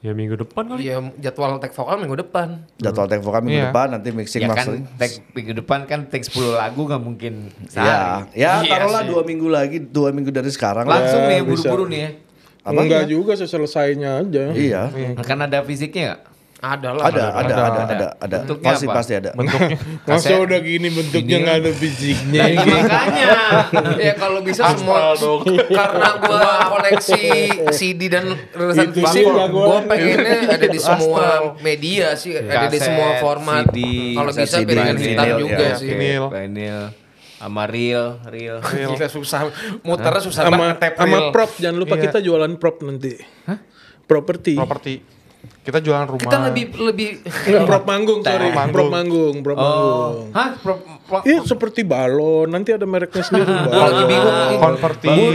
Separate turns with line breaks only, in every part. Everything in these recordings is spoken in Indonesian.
Ya minggu depan kali.
Iya, jadwal take vokal minggu depan.
Jadwal tag vokal
Iya.
minggu depan nanti mixing Iya.
Ya
mastering.
kan, tag minggu depan kan tag 10 lagu nggak mungkin
Ya,
sehari.
Iya
ya taruhlah
sih.
dua minggu lagi, dua minggu dari sekarang. lah.
Langsung
Ya,
nih buru-buru
bisa.
nih ya.
Apa
Enggak
iya?
juga seselesainya aja.
Iya,
Akan Kan ada fisiknya nggak?
Ada lah.
ada, ada, ada, ada, ada,
Bentuknya
pasti
apa?
pasti ada.
Bentuknya
Masa
Kaset.
udah gini bentuknya
Gini.
nggak ada fisiknya.
Iya, Makanya ya kalau bisa semua karena gua koleksi CD dan rilisan
Itu
bang,
sih nggak gua-
gua pengennya ada di semua media sih, ada di
Kaset,
semua format.
CD,
Kalau bisa
CD,
piringan
vinyl,
hitam
ya.
juga
iya,
sih.
Vinyl.
Vinyl. Sama reel, reel.
Gila susah muternya susah
Sama
banget tape
sama
reel.
prop jangan lupa
Iya.
kita jualan prop nanti. Properti.
properti. Kita jualan rumah.
Kita lebih lebih
Enggak, prop manggung, sorry.
Prop manggung.
Prop manggung, prop manggung.
Oh, hah? Pro- pro-
Iya seperti balon, nanti ada mereknya sendiri.
gua lagi
balon. Iya.
bingung. nih.
konverti.
Iya,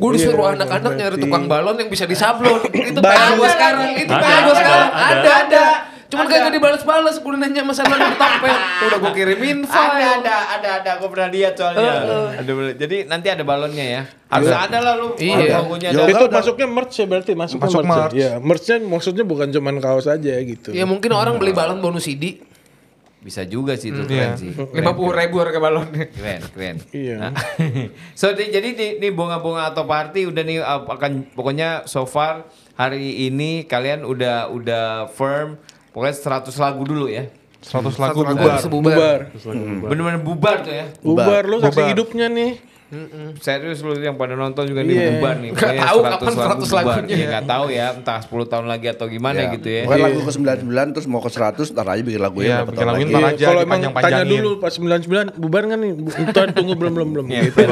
Gue disuruh anak-anak nyari tukang balon yang bisa disablon. Itu
Banyak.
pengen gue sekarang. Itu pengen gue
Ada,
sekarang.
ada,
Ada, ada. Cuman kagak dibales-bales. Gue nanya sama lu di tempel. Udah gue kirimin
Ada,
file.
ada, ada, ada. Aku pernah lihat soalnya. Ada, jadi nanti ada balonnya ya. Harus ada lah lu.
Iya.
Logonya
Yo,
ada.
Itu masuknya merch ya berarti masuknya
Masuk
merch.
merch.
Ya, merchnya maksudnya bukan cuman kaos aja gitu.
Ya mungkin orang
Nah.
beli balon bonus CD.
Bisa juga sih itu
iya.
keren sih.
lima puluh ribu harga balonnya.
Keren, keren.
Iya.
Nah, so di- jadi nih, nih bunga-bunga atau party udah nih uh, akan pokoknya so far hari ini kalian udah udah firm pokoknya 100 lagu dulu ya.
100 lagu
Satu
bubar.
sebubar.
Bubar.
Hmm.
Bener-bener bubar tuh ya.
Bubar lu saksi
Bubar.
hidupnya nih.
Serius lu yang pada nonton juga nih
Iya.
bubar nih.
Nggak
Pokoknya
tahu kapan 100
bubar.
lagunya. Iya.
Iya, nggak tahu ya, entah 10 tahun lagi atau gimana gitu ya.
Bukan Iya. lagu ke 99 terus mau ke 100 ntar aja bikin ya, lagunya
Iya,
berapa
bikin
tahun
laguin
lagi.
ntar
Iya,
aja
kalau emang tanya
dipanjang-panjangin.
dulu pas 99 bubar kan nih. Bu- Entar tunggu belum belum
Iya.
belum gitu.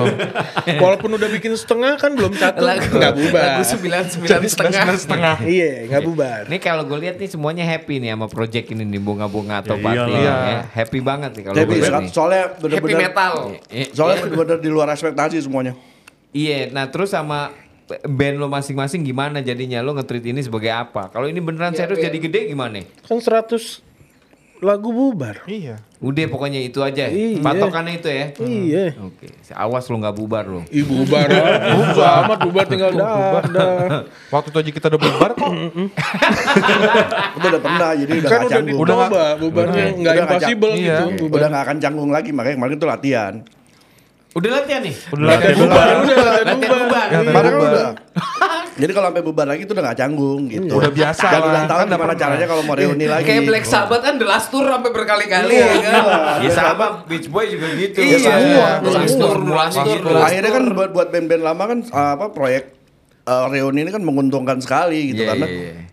Walaupun udah bikin setengah kan belum satu
Lagu
nggak bubar.
Lagu sembilan sembilan setengah.
setengah.
Iya, nggak bubar.
Nah. Ini kalau gue lihat nih semuanya happy nih sama project ini nih bunga-bunga atau
Ya
party
iyalah.
ya. Happy banget nih kalau
Tapi
gue lihat
sekarang
nih. Iya.
soalnya
Happy
bener-bener
metal.
I-
soalnya bener-bener di luar ekspektasi semuanya.
Iya, nah terus sama band lo masing-masing gimana jadinya lo nge-treat ini sebagai apa? Kalau ini beneran serius jadi gede gimana?
Kan 100 lagu bubar.
Iya.
Udah pokoknya itu aja.
Iya.
Patokannya itu ya.
Iya.
Oke, awas lo nggak bubar lo.
Ih bubar, bubar amat bubar tinggal dah. dah.
Waktu itu aja kita udah bubar kok.
Itu udah pernah jadi udah
Kan
gak
udah
canggung.
dicoba, bubarnya nggak
Udah ngajak.
impossible
Iya.
gitu.
Udah,
Bubar.
gak akan canggung lagi makanya kemarin tuh latihan.
Udah latihan nih?
Udah latihan bubar.
Udah, latihan bubar.
Iya,
Kemarin kan udah. Jadi kalau sampai bubar lagi tuh udah gak canggung gitu.
Udah biasa
Dan
lah,
udah tahu
kan Iya. udah
gimana
pernah.
caranya kalau mau reuni lagi.
Kayak Black Sabbath kan The Last Tour sampai berkali-kali ya kan.
Ya sama Beach Boy juga gitu.
Iya,
Iya.
The Last Tour, The Last Tour, The Last
akhirnya kan buat buat band-band lama kan apa proyek eh, reuni ini kan menguntungkan sekali gitu
Iya,
karena
iya, iya.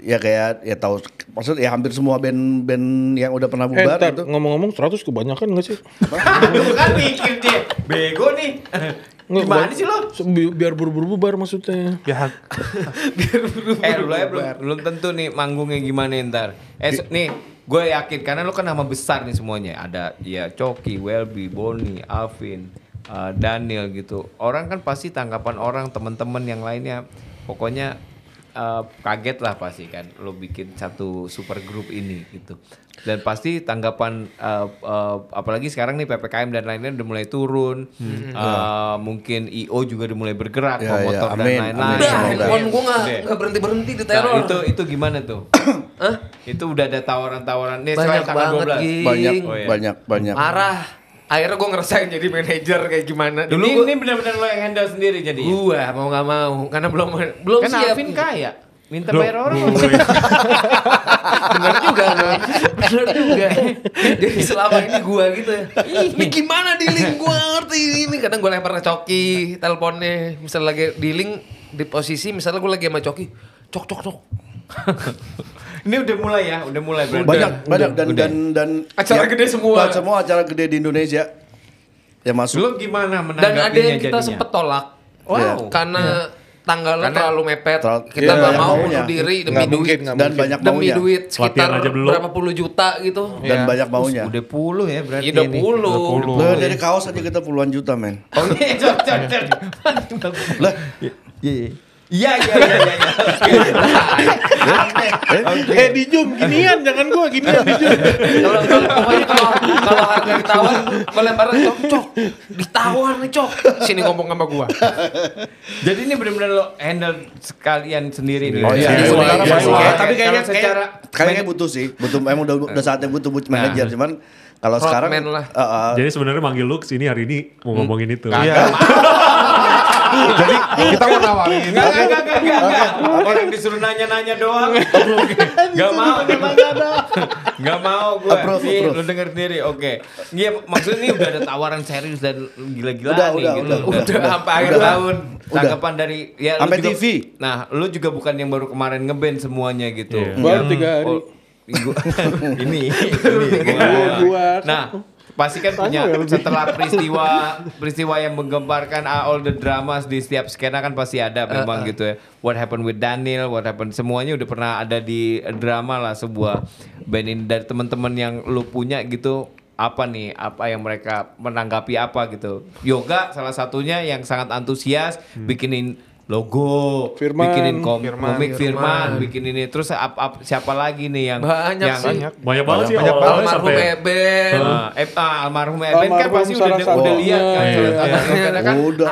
ya kayak ya tahu maksud ya hampir semua band-band yang udah pernah
Eh,
bubar
ntar,
gitu.
ngomong-ngomong 100 kebanyakan gak sih?
Aduh kan mikir dia. Bego nih.
Nggak,
Gimana
kebany-
sih lo?
Se- bi- Biar buru-buru bubar maksudnya.
Ya,
Eh lu aja belum, belum tentu nih manggungnya gimana ntar. Eh se- nih gue yakin karena lu kan nama besar nih semuanya. Ada ya Coki, Welby, Boni, Alvin, eh, Daniel gitu. Orang kan pasti tanggapan orang teman-teman yang lainnya pokoknya eh, kaget lah pasti kan lu bikin satu super grup ini gitu. Dan pasti tanggapan eh, eh, apalagi sekarang nih PPKM dan lain-lain udah mulai turun. Eh, mungkin IO juga udah mulai
Ya,
bergerak,
ya.
promotor dan
Amin,
lain-lain.
amin,
Udah,
semoga.
handphone gue gak,
Udah.
berhenti berhenti di
Iya, Nah,
teror.
itu itu gimana tuh?
Hah?
Itu udah ada tawaran-tawaran nih
Banyak
selain tanggal
banget Gi.
12.
gitu, Banyak
Oh, iya.
banyak banyak.
Parah. Akhirnya gue ngerasain jadi manajer kayak gimana.
Dulu
ini,
ini, ini benar-benar lo yang handle sendiri jadi. ya?
gua mau nggak mau karena belum belum
Kan
siap.
Alvin kaya. Minta
Loh,
bayar orang.
Bener juga, Bang. bener juga. Jadi selama ini gua gitu. ya. Ini gimana dealing gua ngerti ini. Kadang gua lempar ke Coki teleponnya. Misalnya lagi dealing di posisi misalnya gua lagi sama Coki. Cok cok cok.
ini udah mulai ya, udah mulai berarti.
banyak banyak dan,
udah.
dan dan
Acara
ya,
gede semua.
semua acara gede di Indonesia yang masuk
Lo gimana
Dan
menanggapinya
ada yang kita
jadinya?
sempet tolak. Iya.
Wow.
Karena tanggalnya
Karena-
terlalu mepet.
Terlalu-
Kita
Iya,
nggak
yang
mau
maunya.
bunuh diri demi
Nggak mungkin,
duit.
nggak
dan
mungkin.
banyak
Demi
maunya
duit sekitar
Latihan aja belum.
berapa puluh juta gitu.
dan
Iya.
banyak maunya.
Udah puluh ya berarti.
Ya udah
ini.
puluh.
puluh.
Lah dari kaos aja kita puluhan juta men.
Oh iya, cocok, cocok.
Lah
Iya, iya. Iya iya iya iya.
Eh di Jum, ginian jangan gua ginian di Jum.
Kalau kalau pokoknya kalau kalau harga ditawan, kalau lebaran cok, cok, ditawan nih cok. Sini ngomong sama gua.
Jadi ini benar-benar lo handle sekalian sendiri nih.
Oh iya,
Iya,
sementara
iya,
masuk
iya.
ya. Tapi kayaknya
Kalau secara-
secara kayaknya butuh sih, butuh emang udah udah saatnya butuh butuh manajer. Cuman kalau
Roadman
sekarang
lah.
Eh, eh,
Jadi sebenarnya manggil lu kesini hari ini mau ngomongin itu.
Iya. Jadi kita mau nawarin.
Enggak enggak enggak enggak, enggak. enggak. Orang disuruh nanya-nanya doang. Enggak mau. Enggak mau gue.
Approve,
Nih,
approve.
lu denger sendiri. Oke. Iya, maksudnya nih udah ada tawaran serius dan gila-gilaan
Udah,
nih
udah,
gitu.
udah, udah,
Udah
udah.
sampai akhir
Udah.
tahun.
Udah.
Tanggapan dari ya lu
Sampai
juga-
TV.
Nah, lu juga bukan yang baru kemarin ngeband semuanya gitu.
Iya.
Baru
Yang-
tiga hari.
oh, Gua, ini, ini gua-
Gua.
Nah, pasti kan punya
ya,
setelah peristiwa peristiwa yang menggemparkan ah, all the dramas di setiap skena kan pasti ada
Eh,
memang gitu ya. What happened with Daniel, what happened semuanya udah pernah ada di drama lah sebuah band ini dari teman-teman yang lu punya gitu apa nih apa yang mereka menanggapi apa gitu. Yoga salah satunya yang sangat antusias bikinin logo,
Firman.
bikinin kom-
Firman,
komik Firman,
Hmm. Firman.
bikin ini terus ap- ap- siapa lagi nih yang
Banyak
yang,
sih.
Banyak banget sih
Banyak
awal-awalnya
Almarhum
sampai
Eben,
Nah, eh, ah, almarhum Eben kan
Almarhum
pasti udah
Sarah
udah
Sarah.
lihat kan
Iya,
salah
iya.
satunya karena kan
udah.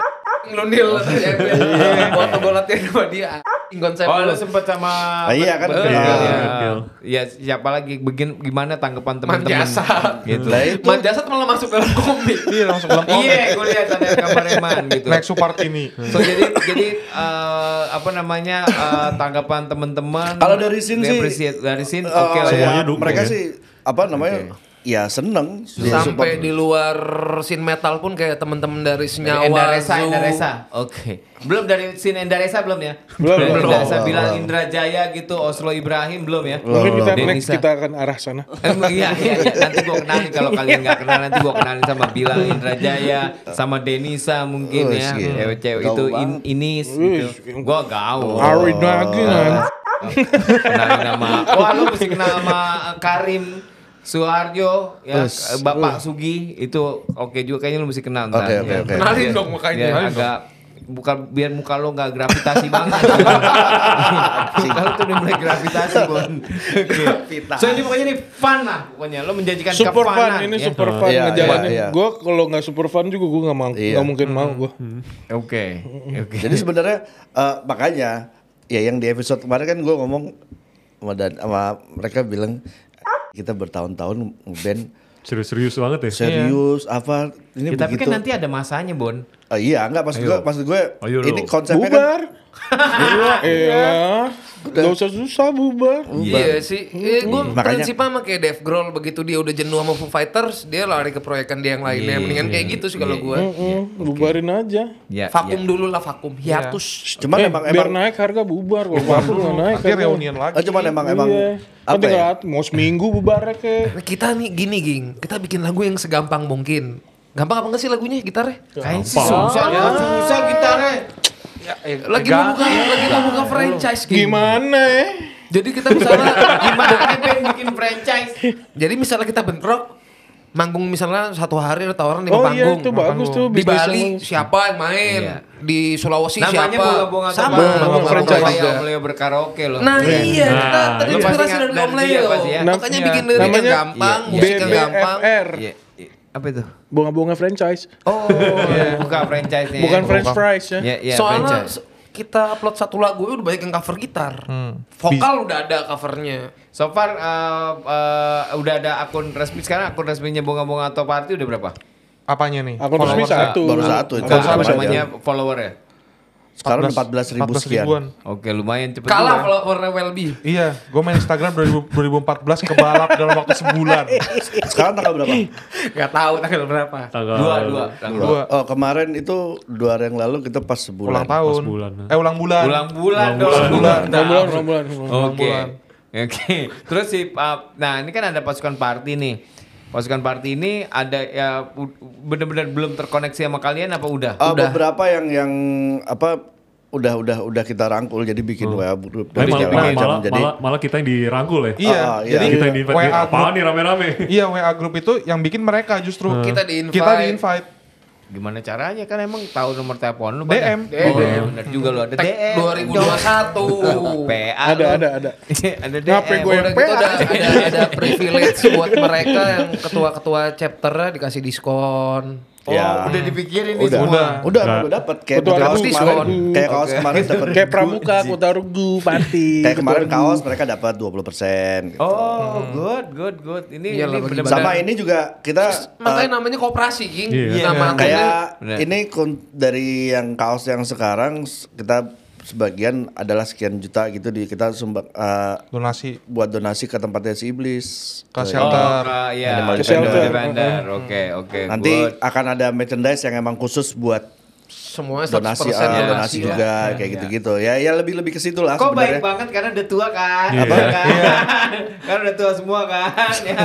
ngelundil Eben. Buat bolatnya sama dia. anjing Konsep
Iya. Oh,
lu.
lu sempet sama
Ah, iya kan,
Betul,
kenal.
iya.
Kenal.
Iya, siapa lagi begin gimana tanggapan teman-teman?
Manjasa.
Gitu.
Lah itu
Manjasat malah masuk dalam komik.
Iya langsung bilang komen.
Iya, gue lihat ada kabarnya man gitu.
Next part ini.
So, jadi jadi eh, apa namanya eh, tanggapan teman-teman?
Kalau dari Sin sih-
Appreciate- dari
eh,
sin, oke lah ya.
Semuanya dukung
Mereka
ya.
sih apa namanya? Ya seneng Dia
Iya,
support.
Sampai di luar scene metal pun kayak temen-temen dari Senyawa,
Endaresa,
Zoo.
Endaresa. Oke. Belum dari sin Endaresa belum ya?
Belum,
Dari
belum.
Endaresa
Belum,
bilang
belum.
Indra Jaya gitu, Oslo Ibrahim belum ya?
Mungkin kita
Denisa.
next kita akan arah sana.
Emang iya, iya, iya. nanti gua kenalin kalau kalian nggak kenal nanti gua kenalin sama Bilang Indra Jaya, sama Denisa mungkin
Oh,
ya.
sih.
Cewek-cewek
Gaul
itu in,
banget.
Inis gitu.
Wih,
Gua gaul.
Ari Naginan.
Kenalin nama. Wah, lu mesti kenal sama Karim Suharjo ya
Us.
Bapak Sugi itu oke juga kayaknya lu mesti kenal ntar.
Oke, oke,
Ya.
oke.
Kenalin
Biar-
dong makanya,
biar
kenalin
agak bukan biar muka lo nggak gravitasi banget. muka lo tuh udah mulai gravitasi, Bon. Gravitasi. So ini pokoknya nih fun lah pokoknya. Lo menjanjikan
Super fun,
kefunan,
ini
ya.
super fun
Iya,
ngejalanin.
iya, iya.
Gua kalau nggak super fun juga gua nggak mau,
Iya.
nggak mungkin mau gua.
Oke. Oke.
Jadi sebenarnya eh, makanya ya yang di episode kemarin kan gue ngomong sama, dan, sama mereka bilang kita bertahun-tahun band
serius-serius banget ya.
Iya.
serius apa ini
Ya, tapi
begitu.
kan nanti ada masanya, Bon.
Eh, iya enggak maksud gue maksud gue
Ayo
ini
lo.
konsepnya kan
Bubar. Iya. Gak usah susah bubar.
Iya sih, eh, gue
Makanya-
prinsipnya sama kayak Dave Grohl begitu dia udah jenuh sama Foo Fighters, dia lari ke proyekan dia yang lainnya.
Iya,
Mendingan kayak
iya,
gitu sih kalau
iya.
gue.
Heeh, Bubarin aja.
Ya,
Vakum
ya.
dulu lah vakum, hiatus.
cuman
eh,
emang
biar
emang
naik harga bubar kalau vakum nggak naik.
Nanti
harga.
reunian
eh,
lagi.
cuman emang emang
Iya.
apa
Nanti
ya
nggak- mau seminggu ya, bubarnya ke
Nah, kita nih gini ging, kita bikin lagu yang segampang mungkin. Gampang apa nggak sih lagunya gitarnya?
Kayaknya sih susah, ya. susah gitarnya.
Ya, eh, Lagi mau buka, lagi mau buka franchise gitu.
gimana ya?
Jadi kita misalnya
Gimana nih pengen bikin franchise?
Jadi misalnya kita bentrok manggung misalnya satu hari ada tawaran lima
Oh iya
panggung.
itu bagus tuh
di
bisnis
Bali
yang-
siapa yang main?
Iya.
Di Sulawesi
Namanya
siapa?
bunga-bunga
Sama
terbang.
bunga-bunga
bunga-bunga
franchise.
terbang.
Beliau- Beliau berkaraoke loh.
Nah iya, kita
Nah,
lu
terinspirasi
pasti
dari
nggak-
Om
dari dia
Leo.
pasti ya.
Makanya
Iya.
bikin lirik yang
Namanya
gampang,
Iya,
musik yang gampang.
BBFR.
Iya. iya. Apa itu?
Bunga-bunga franchise.
Oh, buka franchise nih.
Ya. Bukan french fries ya.
Iya, iya,
Soalnya
franchise.
se- kita upload satu lagu udah banyak yang cover gitar.
Hmm.
Vokal udah ada covernya.
So far eh, eh, udah ada akun resmi sekarang akun resminya bunga-bunga atau party udah berapa?
Apanya nih?
Akun resmi
Followersnya?
satu.
baru satu itu
Enggak, apa
Sama aja.
namanya follower ya?
sekarang 14 ribu
14
sekian
ribuan.
Oke, lumayan cepet
Kalah
juga. ya.
kalau Warna Welby.
Iya, gue main Instagram 2000 2014 kebalap dalam waktu sebulan.
sekarang tanggal berapa
Gak tahu tanggal berapa.
Tanggal
dua dua tanggal
Dua
oh kemarin itu dua hari yang lalu kita pas sebulan
ulang tahun.
Pas bulan.
Eh ulang bulan.
ulang bulan
Ulang
dong.
bulan.
Bulan.
Enam bulan, enam bulan. enam bulan.
Oke. Oke. Terus si uh, nah ini kan ada pasukan party nih. Pasukan party ini ada ya u- bener-bener belum terkoneksi sama kalian apa udah?
Eh, beberapa yang yang apa udah udah udah kita rangkul jadi bikin
Hmm. Nah,
WA grup dari
Tapi malah,
segala
malah,
macam
malah,
jadi
malah, malah kita yang dirangkul ya.
Iya,
Ah, ah, iya.
jadi
Kita yang di-invite.
WA
Apaan
grup.
nih rame-rame?
Iya, WA grup itu yang bikin mereka justru.
Kita di-invite.
Kita di-invite.
Gimana caranya kan emang tahu nomor telepon lu
DM.
banyak. Oh, DM. DM. Iya, Bener juga lu ada
Tek
DM.
2021.
PA
Ada,
lu.
ada, ada.
ada DM.
Ngapain gue
Udah
yang
gitu
PA?
ada, ada, ada privilege buat mereka yang ketua-ketua chapternya dikasih diskon.
Oh,
Ya.
udah dipikirin nih
Udah,
semua.
udah, udah,
Nggak.
dapat kayak
Ketua
kaos
Regu.
kemarin,
Diskon.
kayak kaos kemarin dapat
Kayak pramuka, kota rugu, party.
kayak kemarin
Kota Regu.
kaos mereka dapat 20 persen.
Oh, good, good, good.
Iya
Ini,
lah,
ini
bener-bener.
Sama ini juga kita
Makanya namanya koperasi, Ging. Nama
Iya.
akunnya-
kayak
Bener.
ini kun- dari yang kaos yang sekarang s- kita sebagian adalah sekian juta gitu di kita sumbang eh,
Donasi
buat donasi ke tempatnya si iblis.
ke
Ke-
Oh,
shelter.
ka- ya.
Animal
Defender.
Defender.
Defender. Oke, oke.
Nanti
good.
akan ada merchandise yang emang khusus buat
semuanya 100%
donasi ah,
donasi,
donasi
lah.
juga kayak gitu-gitu. Ya ya lebih lebih ke situ lah
ya.
ya?
Kok baik
sebenarnya.
banget karena udah tua kan?
Iya.
Apa? Kan? karena udah tua semua kan? Ya.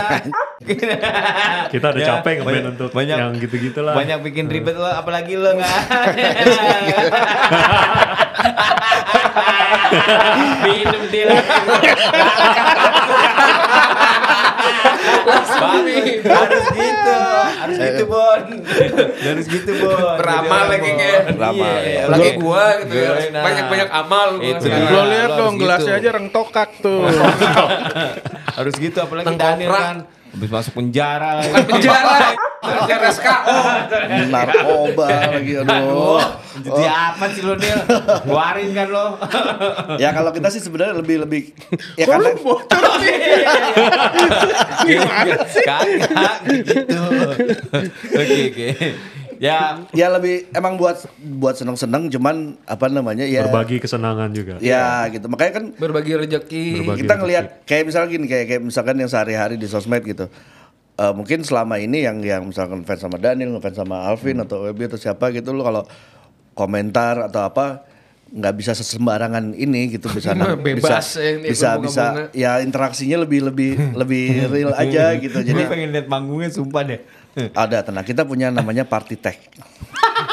Kita ada
Ya,
capek nge-ban
banyak-
untuk
banyak-
yang gitu-gitu lah.
Banyak bikin ribet lo, apalagi lo kan? Minum dia lagi. Bagus, harus gitu, harus gitu Bon, harus gitu Bon. Iya,
Beramal lagi, Ge.
Beramal, ya.
Lagi gua gitu ya.
Nah.
Banyak-banyak amal gua
Itu.
sekarang.
Lo
Nah,
lihat
lo
dong
harus
gelasnya
gitu.
aja reng tokak tuh.
harus gitu apalagi
Tengkorak.
Daniel kan habis masuk penjara
Bukan penjara. Penjara SKO.
Narkoba lagi aduh.
Iya.
Oh,
Aduh, jadi apa sih lo Dil? Keluarin kan lo.
Ya kalau kita sih sebenarnya lebih lebih ya karena
Iya, Gimana sih? Kagak gitu. Oke oke. Ya,
ya lebih emang buat buat seneng-seneng cuman apa namanya ya
Berbagi kesenangan juga.
ya gitu. Makanya kan
Berbagi rezeki.
Berbagi.
kita ngelihat kayak misalnya gini kayak kayak misalkan yang sehari-hari di sosmed gitu Eh, mungkin selama ini yang yang misalkan fans sama Daniel ngefans sama Alvin atau Webby atau siapa gitu lo kalau komentar atau apa nggak bisa sesembarangan ini gitu bisa
Bebas,
bisa
yang ikut
bisa, bisa
bunga-bunga.
ya interaksinya lebih lebih lebih real aja gitu jadi
jadi pengen lihat manggungnya sumpah deh.
ada tenang kita punya namanya party tech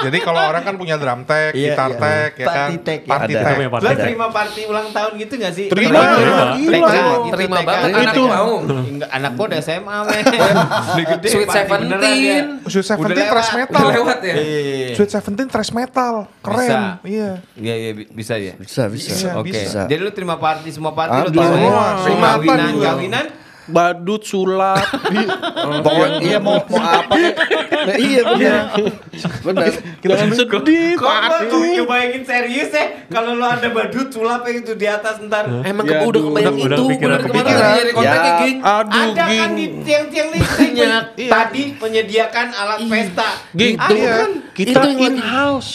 Jadi kalau orang kan punya drum tech,
Iya,
gitar
iya.
tech, ya kan.
Party tech, ya.
Party
Ada.
tech.
Namanya
Lo
partai.
terima party ulang tahun gitu gak sih?
Terima,
terima.
Gila,
TK
lo.
gitu,
Terima
TK.
banget, anak
Itu.
mau.
Enggak, anak gua udah SMA men. Udah gede,
Sweet
party beneran dia.
17.
Sweet
Udah
17
lewat.
thrash metal.
Udah lewat ya?
Iya, iya, iya.
Sweet 17 thrash metal. Keren.
Bisa.
Iya.
Iya iya bi- bisa ya.
bisa bisa
Oke.
bisa.
Jadi lu terima party semua party lu
Aduh,
terima
semua.
Semua
Sunatan
kawinan,
juga.
kawinan.
Badut sulap.
Pokoknya iya mau mau apa Nah, iya benar benar
Jangan sedih.
Kok gua tuh kebayangin serius ya kalau lu ada badut sulap yang itu di atas ntar.
Emang
Ya,
ke- Iya, udah
aduh.
kebayang
Udah- udah
itu.
kepikiran,
Bener kemarin
kepikiran.
udah nyari kontaknya,
Ya.
Ging.
Aduh,
Ada kan
ging.
di tiang-tiang listrik
Banyak.
Iya. tadi menyediakan alat pesta.
Ging,
Ah,
tuh, kan
iya.
kita
Itu yang
in house.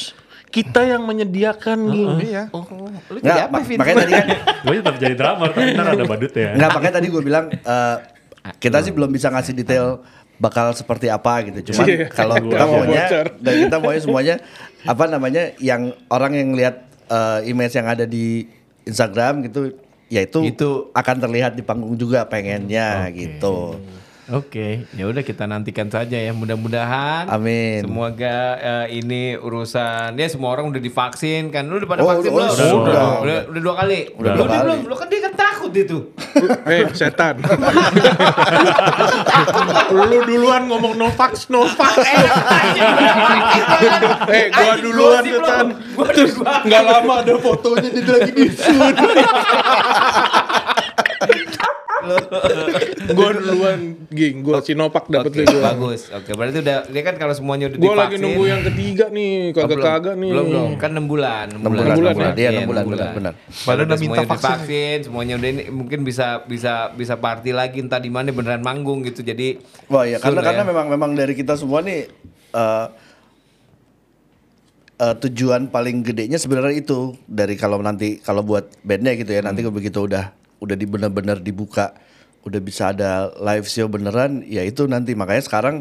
Kita yang menyediakan Ging.
Iya.
Lu jadi
Nggak,
apa
mak-
Vin?
makanya tadi kan
Gue tetap jadi drummer, tapi ntar ada badut ya.
Enggak, makanya tadi gue bilang eh, kita sih belum bisa ngasih detail bakal seperti apa gitu. Cuman
Iya.
kalau
Gua
kita
aja.
maunya
Bocor.
dan kita maunya semuanya apa namanya yang orang yang lihat eh, image yang ada di Instagram gitu yaitu itu
Itu.
akan terlihat di panggung juga pengennya gitu.
Oke, ya udah kita nantikan saja ya. Mudah-mudahan.
Amin.
Semoga eh, ini urusan ya semua orang udah divaksin kan. Lu udah pada
Oh,
vaksin
udah,
belum?
udah,
udah,
udah.
udah, udah dua kali.
Udah
Lu
dua kali.
belum? Lu kan dia kan takut itu.
Eh, setan. Lu duluan ngomong no fax, no fax. Eh, gua duluan
Gosip lu.
setan.
Gua
Terus
duluan.
nggak lama ada fotonya dia lagi di shoot. Gua duluan, geng. Gua sinopak dapet
Oke,
deh gua.
bagus. Oke, berarti udah dia kan kalau semuanya udah
Gua
divaksin.
lagi nunggu yang ketiga nih,
Oh, belum.
kagak-kagak nih.
Belum, belum. Kan 6 bulan. 6
bulan,
enam bulan,
ya? Iya, enam bulan, benar, benar.
Padahal
Padahal
udah
udah
minta
semuanya udah
vaksin.
vaksin, semuanya udah ini mungkin bisa bisa bisa party lagi entah di mana beneran manggung gitu. Jadi
Wah ya karena
Betul,
karena
ya.
memang memang dari kita semua nih eh, eh, tujuan paling gedenya sebenarnya itu dari kalau nanti kalau buat bandnya gitu ya nanti kalau begitu udah udah di benar-benar dibuka udah bisa ada live show beneran ya itu nanti makanya sekarang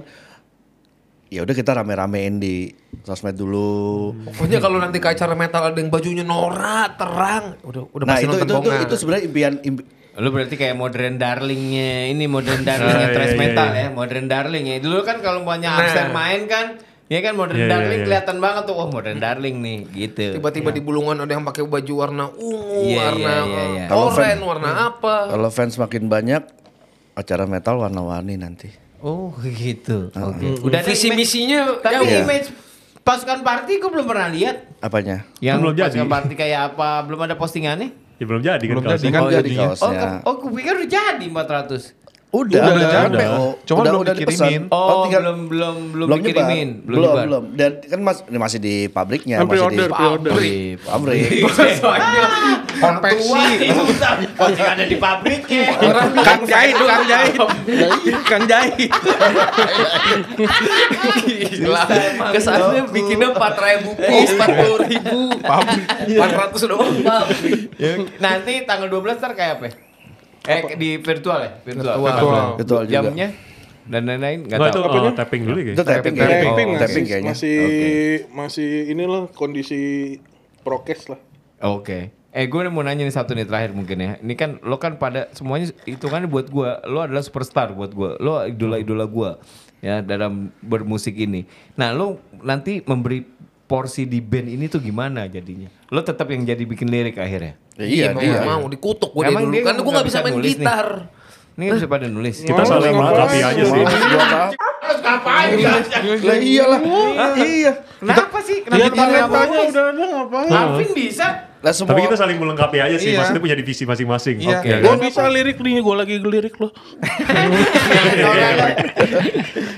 ya udah kita rame-ramein di sosmed dulu
Pokoknya kalau nanti ke acara metal ada yang bajunya norak, terang. Udah udah
nah
pasti
itu itu
nonton
itu,
bonga.
itu sebenarnya impian impi-
Lu berarti kayak modern darlingnya ini modern darlingnya
Ah, iya,
thrash
iya,
metal
iya.
ya modern darling ya dulu kan kalau banyak
Nah.
absen main kan ya kan modern
Iya, iya,
darling
iya.
kelihatan banget tuh wah modern darling nih gitu
Tiba-tiba di bulungan ada yang pakai baju warna ungu,
Iya,
warna
iya, iya, iya.
eh,
Kalau
oranye,
fan-
warna apa.
Oh.
kalau fans makin banyak acara metal warna-warni nanti
oh gitu oke udah
Visi
nih,
misinya
tapi
jauh.
image pasukan party gue belum pernah lihat.
Apanya?
Yang
Belum jadi.
pasukan party kayak apa? Belum ada postingannya?
Ya, belum jadi kan
Belum
kaos.
jadi kan
Oh, iya, di
jadinya.
kaos.
Oh,
Kaosnya.
ke- oh, gue pikir udah jadi 400.
Udah,
Udah,
kan
udah.
PO.
Cuma
udah,
belum
udah dipesan.
dikirimin.
Oh,
tinggal-
belum belum belum,
belum
dikirimin,
nyebar. belum belum, dan kan mas, ini masih di pabriknya
Kan
masih
pre-order,
di
pre-order.
pabrik pabrik
Soalnya
Konveksi.
Posting ada di ya. pabriknya.
Kang Jahit, Kang Jahit. Kang Jahit.
Gila. Kesannya bikinnya 4 ribu piece,
Iya.
40 ribu.
Pabrik.
400 Iya. doang.
Nanti tanggal 12 ntar kayak apa? ya? Eh di virtual ya? Virtual.
Virtual.
Virtual juga.
Jamnya dan lain-lain enggak
Nggak, itu
tahu.
oh, tapping dulu ya.
itu tapping kayaknya
Tapping
Oh,
masih,
tapping kayaknya
masih,
Oke.
masih inilah kondisi prokes lah.
Oke. Eh gue mau nanya nih satu nih terakhir mungkin ya. Ini kan lo kan pada semuanya hitungannya buat gue, lo adalah superstar buat gue, lo idola-idola gue ya dalam bermusik ini. Nah lo nanti memberi porsi di band ini tuh gimana jadinya? Lo tetap yang jadi bikin lirik akhirnya?
Ya, iya
mau
dia
nggak mau dikutuk gue
Emang
dulu.
dia
Kan gue
nggak
gak bisa
bisa
main
nulis nih.
gitar.
Ini kan bisa pada nulis.
Kita saling melengkapi aja sih.
Buat apa? Lah iyalah. Iya.
Kenapa sih? Kenapa
Iya,
Dia
jadi
tanya
apa?
tanya udah ada ngapain?
Alvin bisa?
Lah semua
Tapi kita saling melengkapi aja sih.
Iya.
Maksudnya punya divisi masing-masing.
Iya.
Oke.
Gue bisa lirik nih, gue lagi lirik loh.
Iya,
Iya,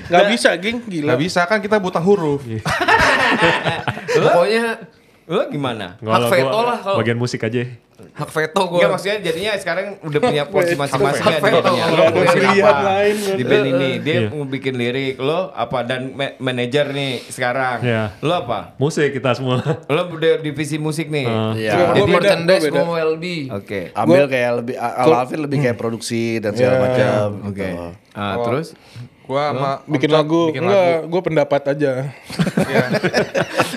Gak bisa, geng,
Gak
gila.
bisa kan kita buta huruf.
Pokoknya
Lo gimana?
Nggak lah,
Hak veto
gua
lah kalau-
bagian musik aja.
hak veto gue.
Iya,
Enggak maksudnya jadinya sekarang udah punya porsi masing-masing
Hak
ya
veto.
dia punya.
Hak
Lo
veto.
bikin
Pilihan
apa?
lain.
Di band ini dia
Iya.
mau bikin lirik lo apa dan ma- manajer nih sekarang.
Iya.
Lo apa?
Musik kita semua.
Lo udah divisi musik nih.
Eh,
Iya.
Gua
Gue
beda,
merchandise,
gua
gue
beda.
WLB.
Oke.
ambil kayak lebih Al Alvin lebih kayak produksi dan segala macam
Oke.
gitu.
Ah, terus
Gua sama
Bikin
Om Cok
lagu,
bikin lagu.
enggak, gue pendapat aja.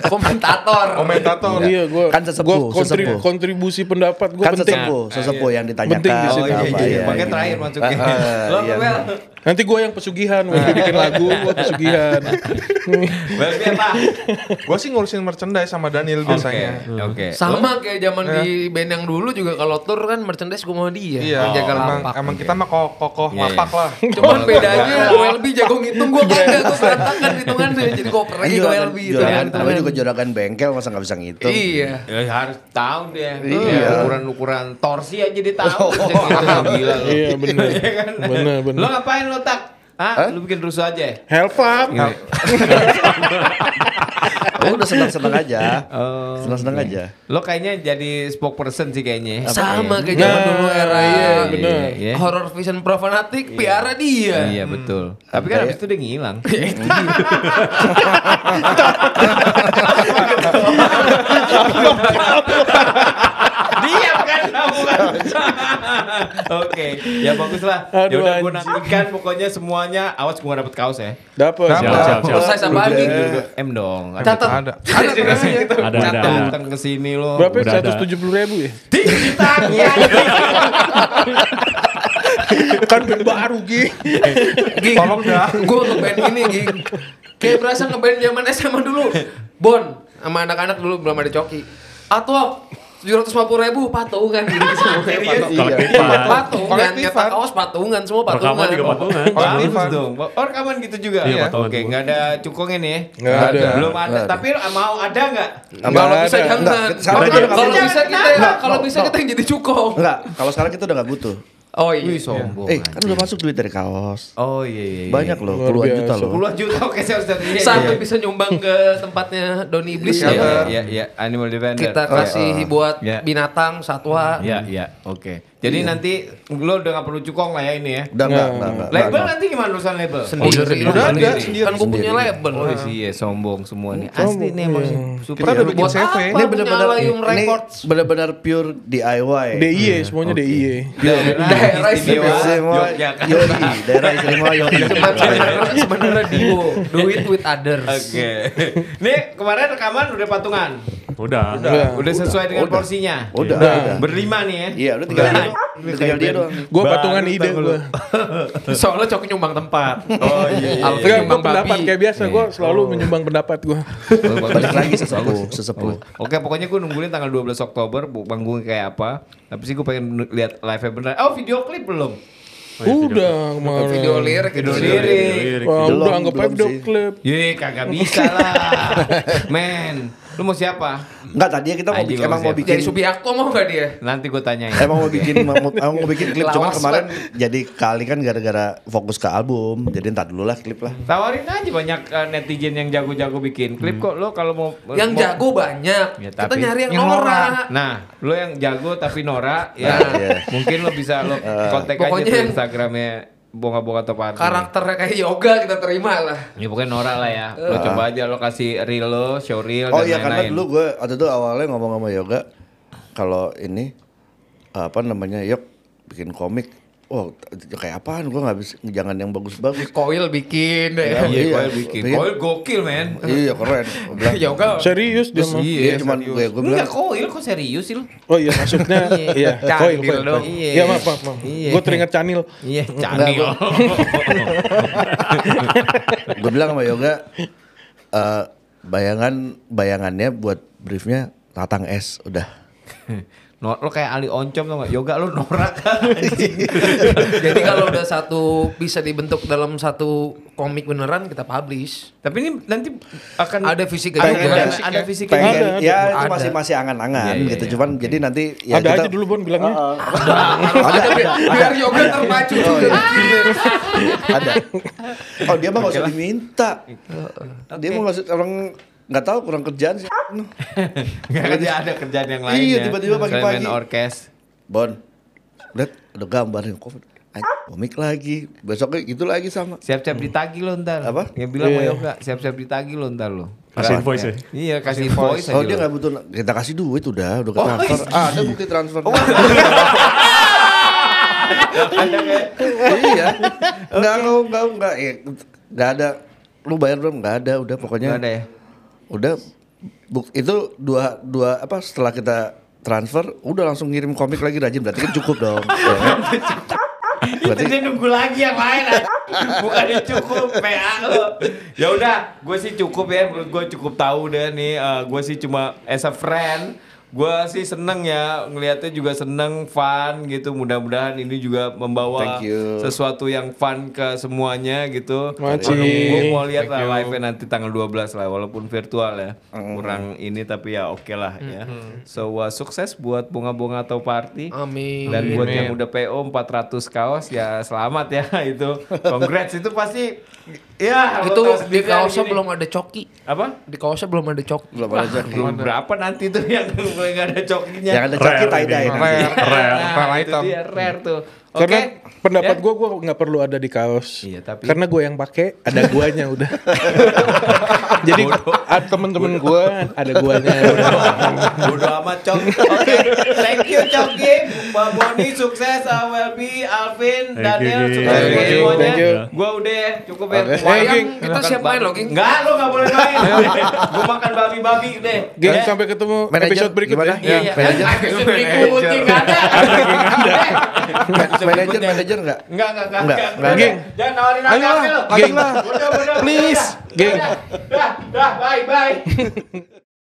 Komentator.
Komentator.
Iya, gue
Kan sesepuh, sesepuh.
kontribusi pendapat gue
Kan
penting.
sesepuh, sesepuh yang ditanyakan.
Penting di situ.
apa,
iya, iya. Makanya
gitu.
terakhir masuknya.
Ah, ah,
Lo
iya.
Bel.
Nanti gue yang pesugihan, waktu bikin lagu gue pesugihan.
Bel apa?
Gua sih ngurusin merchandise sama Daniel biasanya.
Oke.
Sama kayak zaman di band yang dulu juga kalau tour kan merchandise gue mau dia.
Iya,
Yang jaga
emang,
Oh, lapak.
emang kita mah kokoh, kokoh
Iya,
lapak
iya.
lah.
Cuman bedanya WLB jago ngitung gue kagak gue berantakan hitungannya jadi gue pernah
Iya,
ke
Kan juragan,
WLB itu
juragan, namanya juga juragan bengkel masa nggak bisa
gitu
ngitung.
kan. Iya.
Ya, harus tahu dia.
Iya.
Ya, Ukuran-ukuran torsi aja dia tahu. Gila lo.
Iya, bener.
kan?
Bener, bener.
Lo ngapain lo tak? Hah? Lo bikin rusuh aja ya?
Help up.
Oh, udah senang-senang aja. Senang-senang aja.
Lo kayaknya jadi spokesperson sih kayaknya. Ah,
Sama kayak zaman dulu era
iya,
ya.
bener.
Iya.
Horror Vision Profanatic piara dia.
Iya betul. Tapi
Kayak-
kan abis itu dia ngilang.
Iya.
Diam kan kamu kan. Oke, ya bagus lah. Ya
Aduh,
udah gue
anjing.
nantikan pokoknya semuanya. Awas gue gak dapet kaos ya.
Dapat.
Siap, siap, siap.
Selesai sama Abi.
M dong.
Catat.
Ada.
Ada ternyata gitu.
Ada, ada, ada.
Datang ke sini lo.
Berapa?
Udah ada.
Seratus tujuh puluh ribu ya?
Iya. Kan band baru gih. Gih.
Tolong dah.
Gue ngeband ini gih. Kayak berasa ngeband zaman SMA dulu. Bon sama anak-anak dulu belum ada coki. Atau 750 ribu patungan gitu semua patungan.
Kolektifan.
Patungan, nyetak
Kolektifan.
kaos patungan semua Iya. patungan.
Iya, Rekaman juga patungan.
Bagus
Kolektifan.
dong. Oh rekaman gitu juga.
Iya, patungan
Oke,
juga.
nggak ada cukongnya nih ya.
Nggak ada.
Belum ada.
Nggak ada.
Tapi mau ada nggak?
Kalau bisa
Nggak,
jangan.
nggak, sekarang
Kalau-
aja.
Kalau
Jangan,
bisa kita
nggak,
kalau bisa kita yang jadi cukong.
Enggak, kalau sekarang kita udah nggak butuh.
Oh iya.
Wih sombong.
eh, kan udah masuk duit dari kaos.
Oh iya iya. iya.
Banyak loh,
Luar
puluhan
biasa.
juta loh.
Puluhan juta oke saya harus datang.
Sampai bisa nyumbang ke tempatnya Doni Iblis
Iya
ya.
iya iya, iya. Animal defender.
Kita
Oh, iya.
kasih buat
Iya.
binatang, satwa.
Iya iya. Oke. Jadi nanti lo udah nggak perlu cukong lah ya ini ya.
Udah
Iya.
enggak, enggak, enggak.
Label nanti gimana urusan label?
Oh, Sendiri.
Udah ada
sendiri. Kan gue punya label.
Oh iya sombong Iya. semua nih. Asli nih emang super.
Kita udah bikin
ya. Buat
CV.
apa?
Ini
bener-bener
ini
Records.
benar-benar pure DIY.
DIY semuanya DIY.
Daerah
Daerah
istimewa
Semua
Yogyakarta.
Yoi, daerah istimewa
Cuman
Yogyakarta.
sebenarnya- sebenarnya duo, do it with others.
Oke. Nih kemarin rekaman udah patungan.
Udah.
Nah, Udah sesuai dengan porsinya.
Udah,
Udah.
udah.
Berlima nih ya.
Iya, udah tinggal dia. doang. Tinggal dia doang.
Gue
Baru
patungan ide Iya.
tahu
gue.
Soalnya coki nyumbang tempat.
Oh iya. iya.
Alvin
Enggak, gue
nyumbang
pendapat
babi.
kayak gitu. biasa. Gue selalu menyumbang pendapat gue.
iya,
Balik lagi
Oh.
sesepuh, sesepuh.
Oke, pokoknya gue nungguin tanggal 12 Oktober bu- panggung kayak apa. Tapi sih gue pengen lihat live-nya beneran. Oh, video klip belum?
Udah kemarin.
Video gitu lirik, video
lirik.
lirik.
Iya,
Wah,
Belum,
udah anggap aja
belum
video
sih.
klip.
Ye, kagak bisa lah. Men, lu mau siapa?
Enggak tadinya kita mau
Aji,
bikin, emang
bagus
mau
ya.
bikin
Jadi Subiakto mau gak dia?
Nanti ya. gue tanyain.
emang mau bikin mau, mau- emang mau bikin klip cuman
Lawas
kemarin jadi kali kan gara-gara fokus ke album jadi ntar dulu lah klip lah
Tawarin aja banyak eh, netizen yang jago-jago bikin klip
Hmm.
kok lo kalau mau
Yang
mau-
jago banyak.
Ya,
Kita
tapi-
nyari yang, norak.
Nah, lo yang jago tapi Nora ya.
Nah, iya. Eh.
Mungkin lo bisa lo kontak aja
Pokoknya
tuh
yang-
Instagramnya bonga-bonga Topardi.
Karakternya kayak yoga kita terima lah.
Ya pokoknya Nora lah ya. Lo coba aja lo kasih reel lo, show reel
Ah. oh
dan
iya karena
lain-lain.
dulu gue waktu itu awalnya ngomong sama Yoga kalau ini apa namanya Yok bikin komik Wow, t- kayak apaan? Gue nggak bisa, jangan yang bagus-bagus.
Koil bikin deh.
Iya,
Iya.
Koil bikin.
Bikin.
Koil gokil, men.
iya keren. Gua bilang.
yoga
Serius dia mah.
Iya, cuman gue gue bilang
Enggak Koil kok serius sih lo?
Oh iya maksudnya iya.
Canil
Koi, koi, koi.
dong.
Iya, maaf, maaf, maaf. Gue teringat Canil.
Iya, canggih.
gue bilang sama Yoga eh, bayangan bayangannya buat briefnya tatang es udah
No, lo kayak Ali Oncom tau gak? Yoga lo norak kan?
Jadi kalau udah satu bisa dibentuk dalam satu komik beneran kita publish.
Tapi ini nanti akan
Ada fisik juga.
ada, ada, ada fisiknya.
Pengen.
pengen ya itu
Ada.
masih masih angan-angan
Iya, iya,
gitu
iya.
cuman jadi nanti ya
ada
kita-
aja dulu Bon bilangnya.
Ada biar, biar yoga terpacu juga.
ada oh dia mah nggak usah diminta dia mau ngasih orang nggak tahu kurang kerjaan sih
Nggak ada, ada kerjaan yang lain. ya.
Iya, tiba-tiba pagi-pagi.
orkes.
Bon lihat ada gambar yang covid Anjing, komik lagi besoknya gitu lagi sama
Siap-siap ditagi lo ntar.
Apa?
Yang bilang sama
Iya.
Yoga, siap-siap ditagi lo ntar lo.
Kasih invoice ya.
Iya, kasih voice aja.
Oh dia
lo.
nggak butuh kita kasih duit udah udah
Oh,
ke transfer
iya.
ah, ada bukti transfer iya nggak nggak nggak nggak eh, nggak ada lu bayar belum nggak ada udah pokoknya
Nggak ada ya?
udah buk- itu dua dua apa setelah kita transfer udah langsung ngirim komik lagi rajin berarti kan cukup dong Ya kan? berarti
Dia nunggu lagi yang lain. ah. Bukannya cukup PA lo. Ya udah, gue sih cukup ya. Menurut gue cukup tahu deh nih. gue sih cuma as a friend. Gue sih seneng ya ngelihatnya juga seneng, fun gitu. Mudah-mudahan ini juga membawa
Thank you.
sesuatu yang fun ke semuanya gitu.
Makasih.
Gue mau lihat lah live nanti tanggal 12 lah, walaupun virtual ya. Kurang ini tapi ya oke lah ya. So uh, sukses buat bunga-bunga atau party.
Amin.
Dan buat yang udah PO 400 kaos ya selamat ya itu. Congrats itu pasti ya
Itu
lo tahu
di
sendiri kan
kaosnya
ini.
belum ada coki.
apa?
Di kaosnya belum ada coki.
belum ada coki
Belum berapa nanti tuh yang gue nggak ada cokinya.
yang ada coki
Rare
tie dye
ini.
nanti.
Rare.
Nah, itu dia rare tuh. Oke.
Karena pendapat
Ya.
gue gue nggak perlu ada di kaos.
Iya, tapi-
karena gue yang pakai ada guanya udah. Jadi ad- temen-temen gue ada guanya.
Bodo amat Cok. Oke, thank you Coki. Mbak Boni sukses, Awelbi, Alvin,
Thank
Daniel
you, Ki.
sukses
Thank
buat
you,
semuanya.
thank you.
Gua udah ya, cukup ya.
Oke.
Wayang, kita siap main loh, Ki.
Enggak, lo gak boleh main. Gua makan babi-babi deh.
Geng
Ya.
sampai ketemu
Manajer,
episode berikutnya.
gimana?
Ya.
Iya,
Manajer.
iya.
Episode berikutnya nggak ada.
manajer manajer nggak
Enggak, enggak, enggak.
Enggak,
enggak.
enggak.
Jangan nawarin
Ayo
aku
lah,
Alvin, lo.
geng.
Udah, udah, udah,
Please,
udah.
geng.
Udah, Dah, dah, bye, bye.